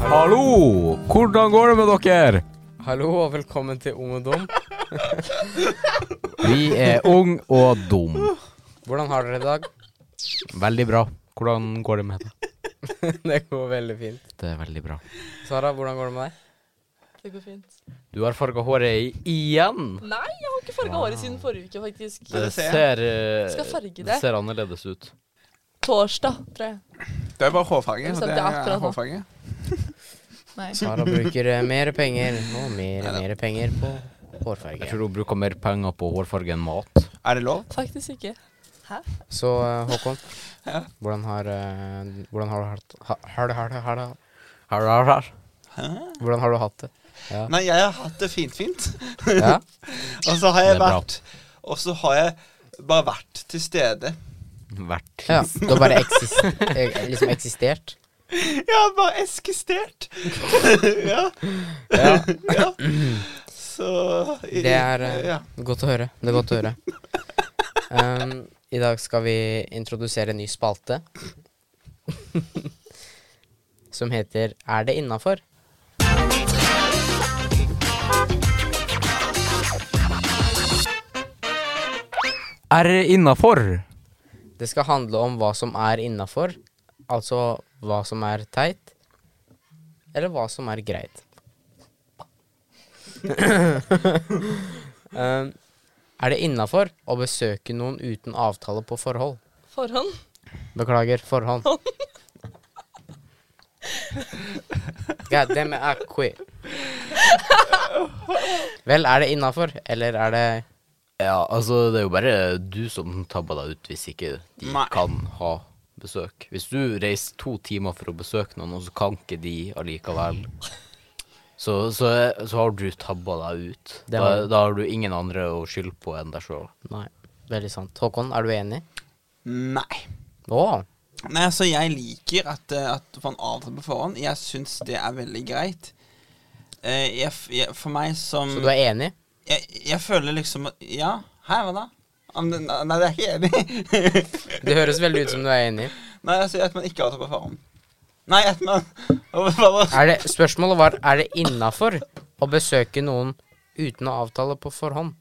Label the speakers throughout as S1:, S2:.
S1: Hallo! Hvordan går det med dere?
S2: Hallo og velkommen til Ung og dum.
S1: Vi er ung og dum.
S2: Hvordan har dere det i dag?
S1: Veldig bra. Hvordan går det med deg?
S2: Det går veldig fint.
S1: Det er veldig bra.
S2: Sara, hvordan går det med deg?
S3: Det går fint.
S1: Du har farga håret i- igjen.
S3: Nei, jeg har ikke farga håret siden forrige uke, faktisk.
S4: Skal det se?
S1: ser, eh,
S3: Skal farge det.
S1: ser annerledes ut.
S3: Torsdag, tror jeg.
S4: Det er bare hårfarge.
S3: Jeg
S4: Og
S3: sa
S4: det
S3: det akkurat
S4: er
S3: nå.
S4: hårfarge.
S3: Nei.
S2: Sara bruker eh, mer penger og mer og mer penger på
S1: Jeg
S2: hårfarge.
S1: tror hun bruker mer penger på hårfarge enn mat.
S4: Er det lov?
S3: Faktisk ikke.
S2: Så eh, Håkon, hvordan har eh, Hvordan har du hatt ha- har, du- har, du- har, du-
S1: Her, her, her.
S2: Hvordan har du hatt det? Ja.
S4: Nei, jeg har hatt det fint, fint.
S2: ja?
S4: Og så har
S1: Det
S4: jeg
S1: er bra.
S4: vært Og så har jeg bare vært til stede.
S1: Vært.
S2: ja. Du har bare eksis eh, liksom eksistert?
S4: Jeg har bare eskestert. ja.
S2: Ja.
S4: ja. Så
S2: Det er eh,
S4: ja.
S2: godt å høre. Det er godt å høre. Um, I dag skal vi introdusere en ny spalte. Som heter Er det innafor?
S1: Er det innafor?
S2: Det skal handle om hva som er innafor. Altså hva som er teit. Eller hva som er greit. um, er det innafor å besøke noen uten avtale på forhold?
S3: Forhånd.
S2: Beklager, forhånd. God damn it, I quit. Vel, er det innafor, eller er det
S1: Ja, altså, det er jo bare du som tabber deg ut hvis ikke de
S4: Nei.
S1: kan ha besøk. Hvis du reiser to timer for å besøke noen, og så kan ikke de allikevel, så, så, så har du tabba deg ut.
S2: Det
S1: Da,
S2: har du.
S1: da har du ingen andre å skylde på enn deg sjøl.
S2: Nei, veldig sant. Håkon, er du enig?
S4: Nei.
S2: Å,
S4: Nei, altså, jeg liker at, eh, at du får en avtale på forhånd. Jeg syns det er veldig greit. Eh, Jeg, f- jeg, for meg som
S2: så du er enig?
S4: jeg, jeg føler liksom at Ja, hæ, hva da? Ah, men- Nei, det er jeg ikke enig.
S2: Det høres veldig ut som du er enig.
S4: Nei, jeg sier at man ikke har tatt på forhånd. Nei, at man Hva var det?
S2: Er det, spørsmålet var er det innafor å besøke noen uten å avtale på forhånd.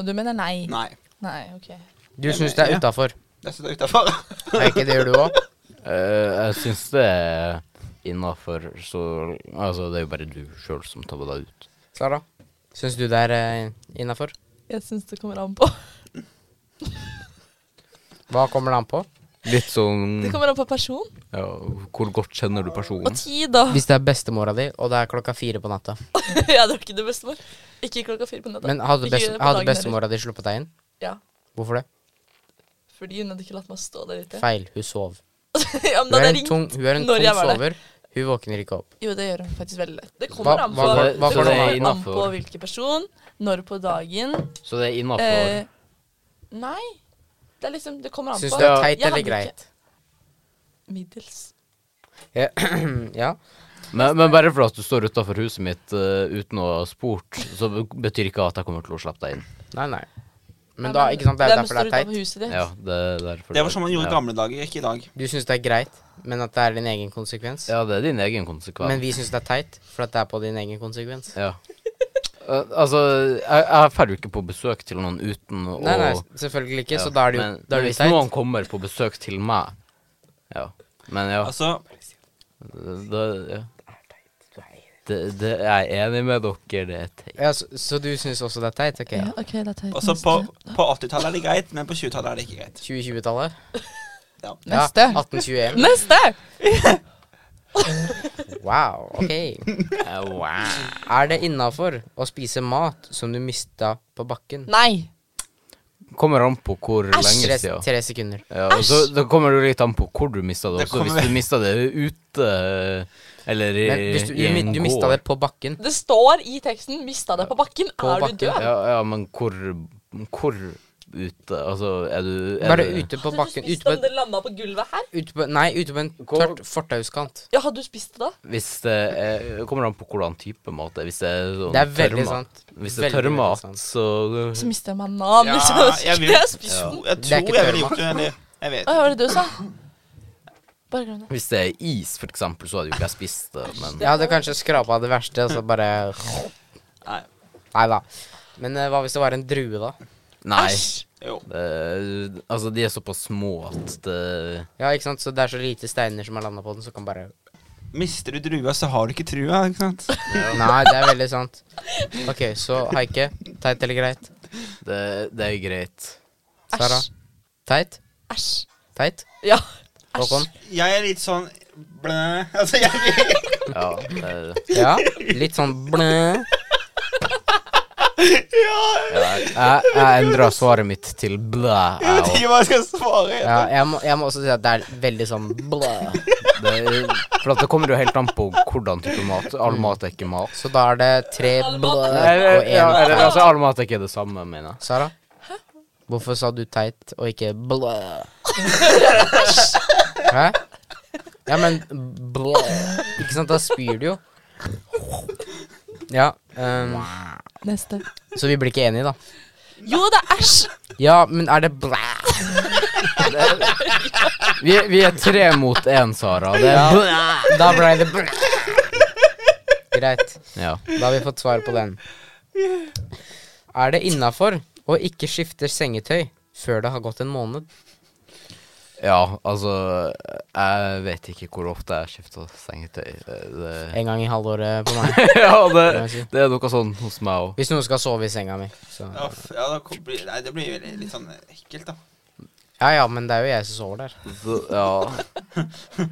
S3: Og du mener nei?
S4: Nei.
S3: Nei, ok.
S2: Du syns det er
S4: Ja.
S2: utafor.
S4: Det sitter utafor.
S2: Er ikke det gjør du òg?
S1: Eh, jeg syns det er innafor, så Altså, det er jo bare du sjøl som tabber deg ut.
S2: Sara? Syns du det er uh, innafor?
S3: Jeg syns det kommer an på.
S2: Mm. Hva kommer det an på?
S1: Litt sånn
S3: Det kommer an på person.
S1: ja, Hvor godt kjenner du
S3: Og
S1: personen?
S3: tid, da.
S2: Mm. Hvis det er bestemora di, og det er klokka fire på natta.
S3: jeg drakk ikke det bestemor. Ikke klokka fire på natta.
S2: Men hadde,
S3: Ikke
S2: best,
S3: på
S2: hadde
S3: dagen
S2: bestemora di sluppet deg inn?
S3: heller. Ja.
S2: Hvorfor det?
S3: Fordi hun hadde ikke latt meg stå der ute.
S2: Feil. Hun sov.
S3: ja,
S2: Hun
S3: men da
S2: er en
S3: hadde jeg ringt.
S2: tung, hun er en
S3: når
S2: tung
S3: jeg var der.
S2: sover. Hun våkner ikke opp.
S3: Jo, det gjør hun faktisk veldig lett. Det kommer an på,
S2: hva- hva
S3: det
S2: for noe
S3: kommer
S2: er
S3: an
S1: innenfor?
S3: på hvilken person, når på dagen.
S1: Så det er innafor.
S3: Eh, nei. Det er liksom Det kommer an på.
S2: Syns du det er
S3: Jeg
S2: teit eller
S3: hadde
S2: greit?
S3: ikke- Middels.
S1: Mm,
S2: Ja.
S1: Men, men bare for at du står utafor huset mitt eh, uten å ha spurt, så b- betyr ikke at jeg kommer til å slippe deg inn.
S2: Nei, nei.
S3: Nei,
S2: Men da, ikke sant, det er derfor det er
S3: Hvem står utenfor
S2: teit.
S3: huset ditt?
S1: Ja, det, er derfor
S4: Det var sånn man gjorde
S1: ja.
S4: i gamle dager, ikke i dag.
S2: Du syns det er greit, men at det er din egen konsekvens.
S1: Ja, det er din egen konsekvens.
S2: Men vi syns det er teit, for at det er på din egen konsekvens.
S1: Ja. Eh, altså, jeg, jeg drar jo ikke på besøk til noen uten å
S2: Nei, nei, selvfølgelig ikke,
S1: Ja,
S2: så da er det jo
S1: men,
S2: da er
S1: men
S2: det jo
S1: Hvis
S2: teit.
S1: noen kommer på besøk til meg Ja. Men ja,
S4: Altså,
S1: det, ja. Det, det Jeg er enig med dere, det er teit.
S2: Ja, så, så du syns også det er teit? Ok.
S3: Ja, ok, det er teit.
S4: altså
S3: Neste.
S4: på, på 80-tallet er det greit, men på 20-tallet er det ikke greit.
S2: 2020-tallet?
S3: Neste.
S2: Ja, 1821.
S3: Neste!
S2: Wow, ok.
S1: Eh, wow.
S2: Er det innafor å spise mat som du mista på bakken?
S3: Nei.
S1: Kommer an på hvor lenge
S2: Tre,
S1: siden.
S2: tre sekunder.
S1: Ja, og så, da kommer det jo litt an på hvor du mista det.
S4: Det
S1: Også. Hvis
S4: kommer-
S1: du mista det ute eller i,
S2: Men hvis du,
S1: i
S2: du, mi-
S1: en
S2: du mista
S1: gård.
S2: det på bakken
S3: Det står i teksten 'mista deg på bakken'.
S2: På
S3: er
S2: bakken,
S3: du død?
S1: ja, ja, men hvor Hvor ute? Altså, er du er
S2: Bare
S1: du-
S2: ute på
S3: Hadde
S2: bakken.
S3: du spist
S2: Ute på,
S3: om det landa på gulvet her?
S2: ute på Nei, ute på en tørt fortauskant.
S3: Ja, hadde du spist det da?
S1: Hvis det er, kommer an på hvordan type mat det er. Hvis det er sånn
S2: Det er veldig
S1: tørrmat-
S2: sant.
S1: Hvis det er
S2: Veldig, veldig sånn.
S1: tørrmat,
S2: sant.
S1: så
S3: Så mister jeg meg navn.
S4: Ja,
S3: liksom.
S4: jeg vil-
S3: Skulle jeg spist den?
S4: Jeg
S2: Det er ikke
S4: tror jeg ville
S2: tørrmat.
S4: gjort det, eller jeg vet
S3: Hva var det du sa? Bare glem det.
S1: Hvis det er is, for eksempel, så hadde jo ikke jeg spist det, men
S2: Jeg hadde kanskje skrapa det verste, og så bare
S4: Nei.
S2: Nei da. Men eh, hva hvis det var en drue, da?
S1: Nei.
S4: Jo.
S1: Det, altså, de er såpass små at det
S2: Ja, ikke sant? Så det er så lite steiner som har landa på den, så kan bare
S4: Mister du drua, så har du ikke trua, ikke sant?
S2: Nei, det er veldig sant. OK, så haike. Teit eller greit?
S1: Det, det er greit.
S2: Sara?
S3: Æsj.
S2: Teit?
S3: Æsj.
S2: Teit?
S3: Ja.
S2: Håkon?
S4: Jeg er litt sånn blæ. Altså, jeg
S1: Ja. Det,
S2: Ja? Litt sånn blæ.
S1: jeg, jeg endra svaret mitt til blæ, jeg
S4: vet
S1: òg.
S4: ikke hva jeg skal svare.
S2: Ja, jeg må, jeg må også si at det er veldig sånn blæ.
S1: Det- For at det kommer jo helt an på hvordan type mat. All mat er ikke mat.
S2: Så da er det tre blæ og
S1: Eller, ja, eller,
S2: én
S1: altså, all mat er ikke det samme, mener jeg.
S2: Sara? Hvorfor sa du teit og ikke blæ? Hæ? Ja, men blæ Ikke sant, da spyr du jo. Ja, ehm,
S3: Neste.
S2: så vi blir ikke enige, da.
S3: Jo, det er æsj.
S2: Ja, men er det blæ?
S1: Vi, vi er tre mot én, Sara. Det er blæ.
S2: Da ble det blæ. Greit,
S1: Ja.
S2: da har vi fått svar på den. Er det innafor å ikke skifte sengetøy før det har gått en måned?
S1: ja, altså Jeg vet ikke hvor ofte jeg skifter sengetøy. Det, det,
S2: En gang i halvåret på meg.
S1: ja,
S2: jeg
S1: det,
S2: si.
S1: det er noe sånn hos meg òg.
S2: Hvis noen skal sove i senga mi. Så.
S4: Ja, f- ja da kom- blir- nei, det blir jo litt sånn ekkelt, da.
S2: Ja ja, men det er jo jeg som sover der.
S1: Så, ja.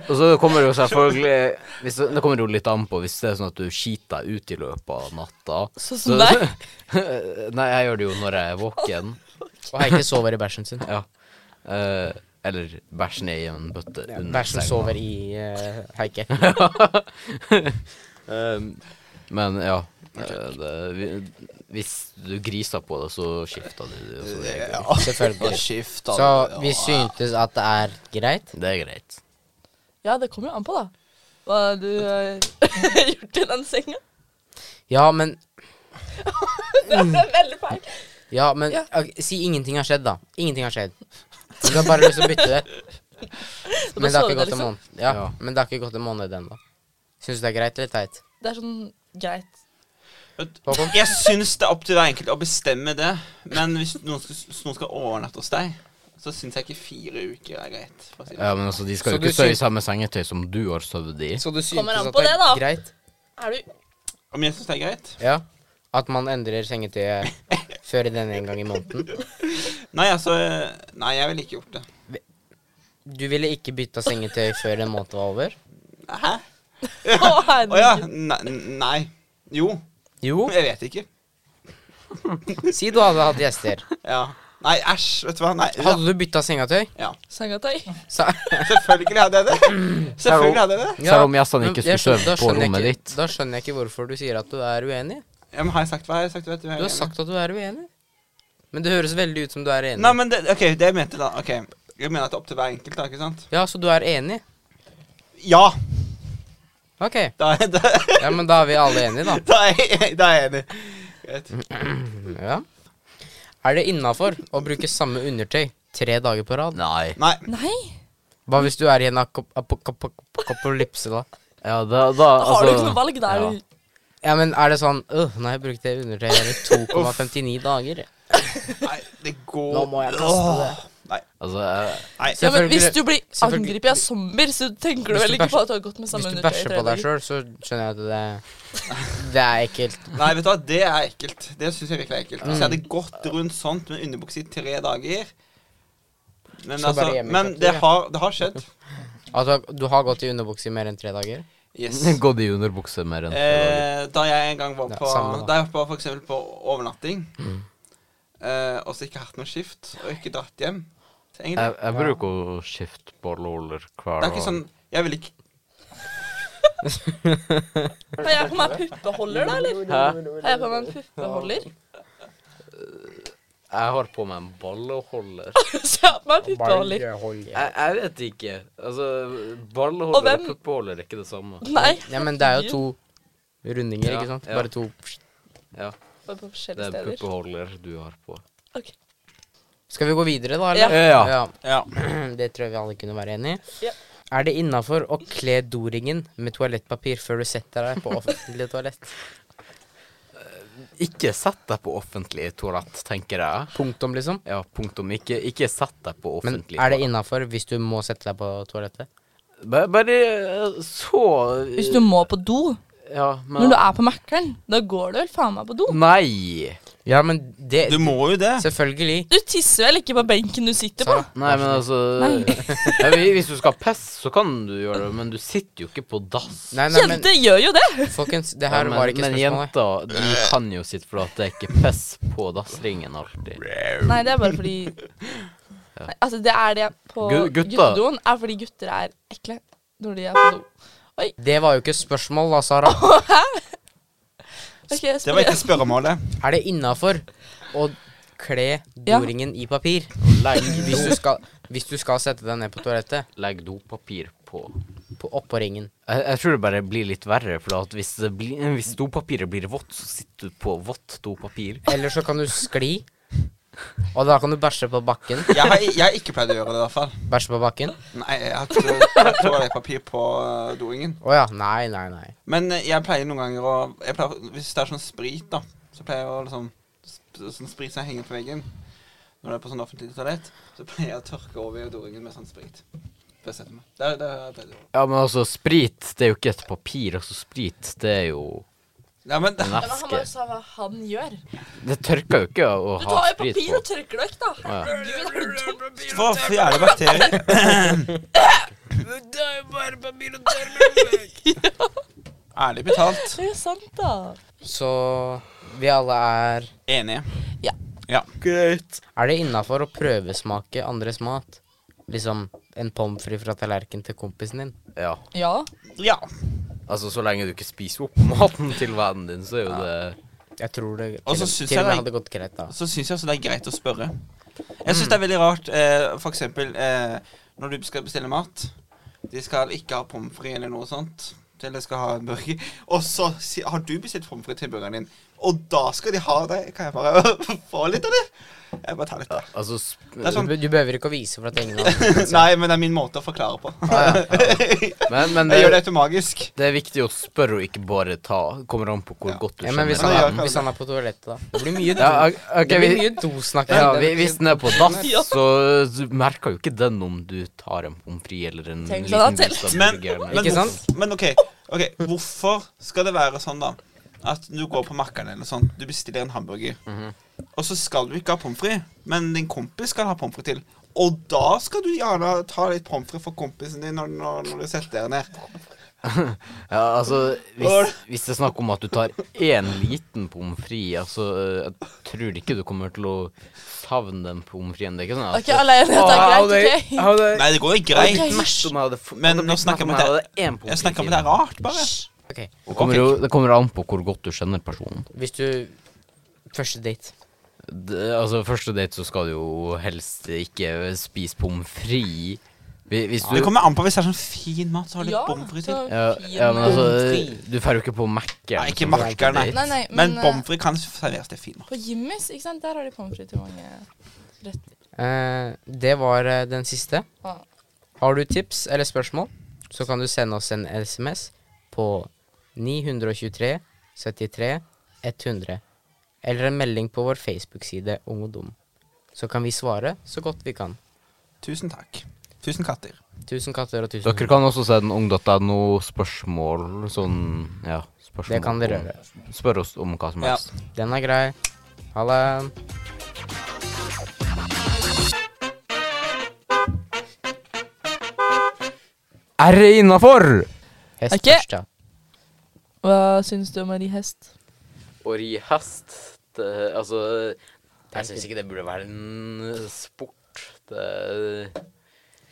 S1: Og så kommer det jo selvfølgelig hvis det, det kommer jo litt an på hvis det er sånn at du skiter deg ut i løpet av natta.
S3: Sånn som deg?
S1: Nei, jeg gjør det jo når jeg er våken.
S2: Og Heike sover i bæsjen sin.
S1: Ja. Eh, eller bæsjen er i en bøtte under
S2: Bæsjen sover i eh, Heike.
S1: Um, men ja eh, det, vi- Hvis du griser på det, så skifter du det. og så det, er greit.
S2: Selvfølgelig.
S4: Skift, da.
S2: Så vi
S4: Ja.
S2: syntes at det er greit.
S1: det er greit.
S3: Ja, det kommer jo an på, da. Hva har du eh, gjort i den senga?
S2: Ja, men
S3: Det er veldig feil.
S2: Ja, men
S3: Ja.
S2: ok, si ingenting har skjedd, da. Ingenting har skjedd. Du har bare lyst til å bytte det.
S3: bare
S2: Men det har ikke
S3: sover det,
S2: gått en
S3: liksom.
S2: måned. Ja,
S1: Ja.
S2: men det har ikke gått en måned ennå. Syns du det er greit eller teit?
S3: Det er sånn greit.
S2: Håkon?
S4: Jeg syns det er opp til hver enkelt å bestemme det, men hvis noen skal, hvis noen skal overnatte hos deg, så syns jeg ikke fire uker er greit. For å si det. sånn.
S1: Ja, men altså, De skal
S2: Så
S1: jo
S2: du
S1: ikke sove i
S2: syns-
S1: samme sengetøy som du har sovet i.
S2: Så du
S3: Kommer
S2: syntes
S3: an
S2: at
S3: på
S2: det
S3: det, da.
S2: er greit?
S3: Er du
S4: Om jeg syns det er greit?
S2: Ja. At man endrer sengetøyet før den en gang i måneden?
S4: Nei, altså Nei, jeg ville ikke gjort det.
S2: Du ville ikke bytta sengetøy før en måned var over?
S4: Hæ?
S3: Å,
S4: Å ja.
S3: herregud.
S4: Nei. nei. Jo.
S2: Jo.
S4: Jeg vet ikke.
S2: Si du hadde hatt gjester.
S4: Ja. Nei, æsj. Vet du hva. Nei.
S2: Hadde du bytta sengetøy?
S4: Ja.
S3: Sengetøy.
S2: Sa
S4: Selvfølgelig hadde jeg det. Selvfølgelig hadde jeg det.
S1: Selv om gjestene
S2: men
S1: ikke
S2: jeg
S1: skulle
S2: skjønner-
S1: sove
S2: da
S1: på
S2: skjønner jeg
S1: rommet
S2: ikke-
S1: ditt.
S2: Da skjønner jeg ikke hvorfor du sier at du er uenig.
S4: Ja, men har jeg sagt hva? Har jeg sagt, vet du, hva jeg
S2: Du har
S4: mener?
S2: sagt at du er uenig. Men det høres veldig ut som du er enig.
S4: Nei, men det, OK, det jeg mente da. Ok, Jeg mener at det er opp til hver enkelt, da, ikke sant?
S2: Ja, så du er enig?
S4: Ja!
S2: Ok.
S4: Da er, da,
S2: Ja, men da er vi alle enige, da.
S4: da er, jeg- da er jeg enig. Greit.
S2: Ja. Er det innafor å bruke samme undertøy tre dager på rad?
S1: Nei.
S4: Nei.
S3: Nei.
S2: Hva hvis du er i en akop- apok- apok- apokalypse, da?
S1: Ja, da, altså- da
S3: Da har du ikke noe valg. Da er
S1: ja.
S3: du
S2: altså, Ja, men er det sånn Øh, nei, jeg brukte undertøy her i 2,59 dager.
S4: Nei, det går
S2: Nå må jeg kaste det.
S4: Åh, Nei.
S1: Altså, jeg,
S4: nei.
S3: Ja, men Hvis
S2: Selvfølgelig-
S3: du blir
S2: selvfølgelig-
S3: angrepet av zombier, så tenker du
S2: Hvis
S3: vel
S2: du
S3: ikke
S2: bæsj-
S3: på at du har gått med
S2: Hvis
S3: samme
S2: du
S3: undertøy i
S2: bæsjer
S3: tre
S2: på deg
S3: dager?
S2: sjøl, så skjønner jeg at det Det er ekkelt.
S4: Nei, vet du hva, det er ekkelt. Det syns jeg virkelig er ekkelt. Hvis jeg hadde gått
S2: Mm.
S4: rundt sånt med underbukse i tre dager Men,
S2: Så
S4: altså,
S2: bare hjemme i
S4: men
S2: kaptur,
S4: det,
S2: ja.
S4: har, det har skjedd.
S2: Altså, du har gått i underbukse i mer enn tre dager?
S4: Yes.
S1: Gått i underbukse mer enn tre dager.
S4: Eh, da jeg en gang var
S2: Ja,
S4: på
S2: samme da.
S4: Da jeg var for eksempel på overnatting, eh, og så ikke hatt noe skift, og ikke dratt hjem så egentlig,
S1: Jeg, jeg bruker å skifte bolleholder hver
S4: Det er ikke sånn Jeg vil ikke
S3: Har jeg på meg puppeholder, da, eller?
S1: Hæ?
S3: Har jeg på meg en puppeholder?
S1: Jeg har på meg en bolleholder.
S3: Så jeg har på meg en puppeholder.
S1: Jeg, jeg vet ikke. Altså,
S3: Og
S1: bolleholder og
S3: hvem-
S1: puppeholder er ikke det samme.
S3: Nei.
S2: Ja, men det er jo to rundinger,
S1: Ja,
S2: ikke sant?
S1: ja.
S2: Bare to
S1: Ja,
S3: Bare på
S1: det er
S3: forskjellige
S1: en
S3: steder.
S1: puppeholder du har på.
S3: Ok.
S2: Skal vi gå videre, da?
S3: Ja.
S2: eller?
S1: Ja.
S2: ja.
S4: Ja.
S2: Det tror jeg vi alle kunne være enig i.
S3: Ja.
S2: Er det innafor å kle doringen med toalettpapir før du setter deg på offentlig toalett?
S1: Ikke sett deg på offentlig toalett, tenker jeg.
S2: Punktum, liksom.
S1: Ja, punktum. Ikke, ikke sett deg på
S2: Men
S1: offentlig
S2: er det innafor hvis du må sette deg på toalettet?
S1: toalett. Ba- Bare eh, så eh,
S3: Hvis du må på do
S1: Ja,
S3: når
S1: men
S3: du er på Mækkern, da går du vel faen meg på do?
S1: Nei.
S2: Ja, men det
S4: Du må jo det.
S2: Selvfølgelig.
S3: Du tisser vel ikke på benken du sitter på?
S2: Sara.
S1: Nei, men altså
S3: Nei.
S1: ja, hvi- Hvis du skal pisse, så kan du gjøre det, men du sitter jo ikke på dass.
S2: Nei, nei, men
S3: Jenter gjør jo det!
S2: folkens, det her
S1: Ja, men,
S2: var ikke
S1: men
S2: spørsmålet.
S1: jenter, de kan jo sitte for at det er ikke piss på dassringen alltid.
S3: Nei, det er bare fordi Nei, Altså, det er det på
S1: Gu- gutta.
S3: guttedoen, er fordi gutter er ekle når de er på do.
S2: Det var jo ikke spørsmål, da, Sara.
S3: Ok, jeg
S4: Det var
S3: spør-
S4: ikke spørremålet.
S2: Er det innafor å kle
S3: Ja.
S2: doringen i papir
S1: Legg,
S2: hvis du, skal, hvis du skal sette deg ned på toalettet?
S1: legg dopapir på.
S2: På, oppå ringen.
S1: Jeg, jeg tror det bare blir litt verre, for at hvis, det blir, hvis dopapiret blir vått, så sitter du på vått dopapir.
S2: Eller så kan du skli, og da kan du bæsje på bakken.
S4: Jeg har, jeg har ikke pleid å gjøre det, i hvert fall.
S2: Bæsje på bakken.
S4: Nei, jeg har ikke hatt toalettpapir på eh, doringen.
S2: Å ja. Nei, nei, nei.
S4: Men eh, jeg pleier noen ganger å jeg pleier, Hvis det er sånn sprit, da, så pleier jeg å liksom sp- Sånn sprit som henger på veggen når det er på sånn offentlig toalett, så pleier jeg å tørke over i doringen med sånn sprit. Før jeg setter meg. Det, er- det, er- det, er det.
S1: Ja, men altså, sprit, det er jo ikke et papir. Altså, sprit, det er jo
S4: Ja, men det,
S1: en
S3: Ja, men han
S1: væske.
S3: bare sa hva han gjør.
S1: Det tørker jo ikke å
S3: Du
S1: ha
S3: tar jo
S1: sprit
S3: papir
S1: på.
S3: og tørker det vekk, da.
S1: ja.
S3: Herregud, er du dum?
S4: for å fjerne bakterier. Ærlig betalt.
S3: Det er jo sant, da.
S2: Så vi alle er
S4: Enig.
S3: Ja.
S4: ja. Greit.
S2: Er det innafor å prøvesmake andres mat? Liksom en pommes frites fra tallerken til kompisen din?
S1: Ja.
S3: Ja.
S4: Ja.
S1: Altså, så lenge du ikke spiser opp maten til vennen din, så er jo det
S2: Jeg tror det
S4: Og
S2: til,
S4: så synes
S2: til
S4: jeg
S2: og med
S4: det-
S2: hadde gått greit, da.
S4: Så syns jeg også det er greit å spørre. Jeg syns det er veldig rart, eh, for eksempel eh, når du skal bestille mat. De skal ikke ha pommes frites eller noe sånt. Eller skal ha en burger. Og så si, har du bestilt pommes frites til burgeren din, og da skal de ha det. Kan jeg bare få litt av det? Jeg bare tar litt. av det.
S1: Altså, sp
S4: Det er
S2: Du,
S4: sånn,
S2: be- du behøver ikke å vise for at ingen har
S4: nei, men det er min måte å forklare på.
S1: men, men
S4: Jeg gjør det
S1: det,
S4: automagisk.
S1: det er viktig å spørre og ikke bare ta. Kommer an på hvor
S4: Ja.
S1: godt du
S2: ja, Men hvis
S4: Ja,
S2: han,
S4: ja,
S2: er,
S4: kan
S2: hvis
S4: det.
S2: han er på toalettet, da? Det blir mye,
S1: Ja, ok,
S2: det
S1: vi-
S2: blir mye dosnakk. her.
S1: Ja,
S2: Det
S1: vi,
S2: er
S1: hvis
S2: ikke-
S1: den er på dass,
S3: Ja.
S1: så så merker jo ikke den om du tar en pommes frites eller en
S3: Tenk
S1: liten
S3: sånn, da,
S1: bit av
S4: Men,
S1: burgeren.
S4: men,
S2: Ikke
S4: hvorf-
S2: sant?
S4: men ok, ok, hvorfor skal det være sånn, da? At du går på Makkeren eller sånn, du bestiller en hamburger, og så skal du ikke ha pommes frites, men din kompis skal ha pommes frites til. Og da skal du gjerne ta litt pommes frites for kompisen din når, når, når du setter deg ned.
S1: Ja, altså, hvis, hvis det er snakk om at du tar én liten pommes frites, altså Jeg tror ikke du kommer til å savne den pommes fritesen. Det er ikke sånn at
S3: OK, alle er enige, det er greit, OK?
S4: Nei, det går jo
S1: Jeg
S4: greit.
S1: hadde blitt mett om jeg hadde f-
S4: Men
S1: hadde
S4: nå
S1: blitt
S4: snakker
S1: mett om
S4: vi om
S1: jeg hadde én pommes
S4: Jeg snakker om
S1: frites
S4: det er rart, bare.
S2: Ok,
S1: Det kommer jo det kommer an på hvor godt du kjenner personen.
S2: Hvis du Første date.
S1: Det, altså, første date så skal du jo helst ikke spise pommes frites. Hvi- Hvis du
S4: Det kommer an på hvis det er sånn fin mat, så har du litt
S3: Ja,
S4: pommes frites til.
S3: så
S1: Ja,
S3: fin.
S1: ja, men altså
S2: Pommes
S1: Du drar jo ikke på Mac-en.
S4: Nei, ikke
S1: som
S4: Makkeren, nei.
S1: date.
S3: Nei, nei, men,
S4: Men
S3: eh,
S4: pommes frites kan serveres til fin mat.
S3: På Jimmys, ikke sant, der har de pommes frites til mange retter.
S2: Eh, det var eh, den siste.
S3: Ah.
S2: Har du tips eller spørsmål, så kan du sende oss en SMS på 923 73 100. Eller en melding på vår Facebook-side Ung og dum. Så kan vi svare så godt vi kan.
S4: Tusen takk. Tusen katter.
S2: Tusen katter og tusen
S1: Dere kan også sende ung.no-spørsmål. Sånn, ja. Spørsmål
S2: Det kan dere
S1: om- Spør oss om hva som
S4: Ja.
S1: helst.
S2: hunder. Den er grei. Ha det.
S1: Er det innafor?
S2: Hest
S3: Ok.
S2: først, ja.
S3: Hva syns du om å ri hest?
S1: Å ri hest det, Altså, jeg syns ikke det burde være en sport. Det,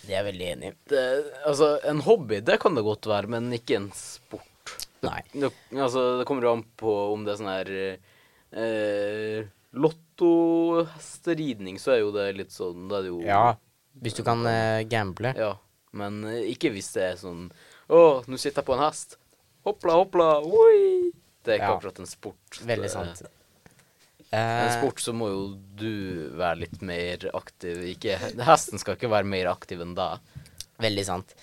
S2: Det er jeg veldig enig i.
S1: det Altså, en hobby, det kan det godt være, men ikke en sport.
S2: Nei.
S1: Det, altså, det kommer jo an på om det er sånn her eh, Lottohesteridning, så er jo det litt sånn Da er det jo
S2: Ja. Hvis du kan eh, gamble.
S1: Ja, men eh, ikke hvis det er sånn Å, nå sitter jeg på en hest. Hoppla, hoppla, oi. Det er ikke
S2: Ja.
S1: akkurat en sport.
S2: Veldig
S1: Det-
S2: sant.
S1: En
S2: Eh,
S1: sport så må jo du være litt mer aktiv. Ikke, hesten skal ikke være mer aktiv enn deg.
S2: Veldig sant.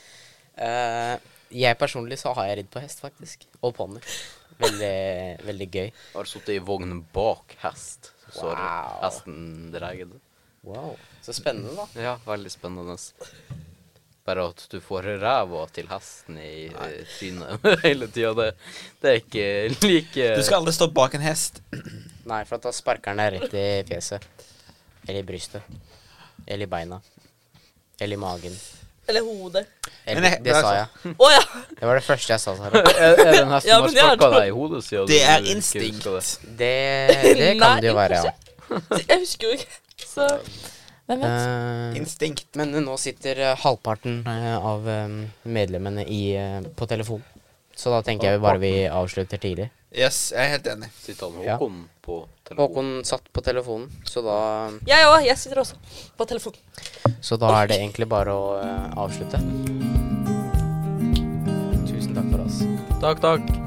S2: Eh, jeg personlig så har jeg ridd på hest, faktisk. Og ponni. Veldig, veldig gøy.
S1: Har sittet i vognen bak hest, så har
S2: Wow.
S1: hesten dreid.
S2: Wow. Så spennende, da.
S1: Ja, veldig spennende. Bare at du får ræva til hesten i eh, trynet hele tida, det, det er ikke like
S4: Du skal aldri stå bak en hest.
S2: Nei, for at da sparker han deg rett i fjeset. Eller i brystet. Eller i beina. Eller i magen.
S3: Eller hodet.
S2: Eller,
S4: Men jeg-
S2: det sa jeg.
S3: Å ja.
S2: Det var det første jeg sa, Sara.
S1: Er, er det en hest
S3: Ja,
S1: som har
S3: men jeg har
S1: sparka
S3: to-
S1: deg i hodet siden
S4: Det
S1: du
S4: er
S1: ikke
S4: instinkt.
S1: husker det?
S2: Det, det kan det jo
S3: Nei,
S2: være, ja.
S3: Jeg husker jo ikke. Så Hvem vet?
S4: Mm.
S2: Eh,
S4: Instinkt.
S2: men nå sitter eh, halvparten eh, av eh, medlemmene i, eh, på telefon. Så da tenker jeg vi bare vi avslutter tidlig.
S4: Yes, jeg er helt enig.
S1: Sitter han
S2: Ja.
S1: Håkon på telefonen?
S2: Håkon satt på telefonen, så da,
S3: Jeg òg. Jeg sitter også på telefon.
S2: så da er det egentlig bare å eh, avslutte. Tusen takk for oss.
S1: Takk, takk.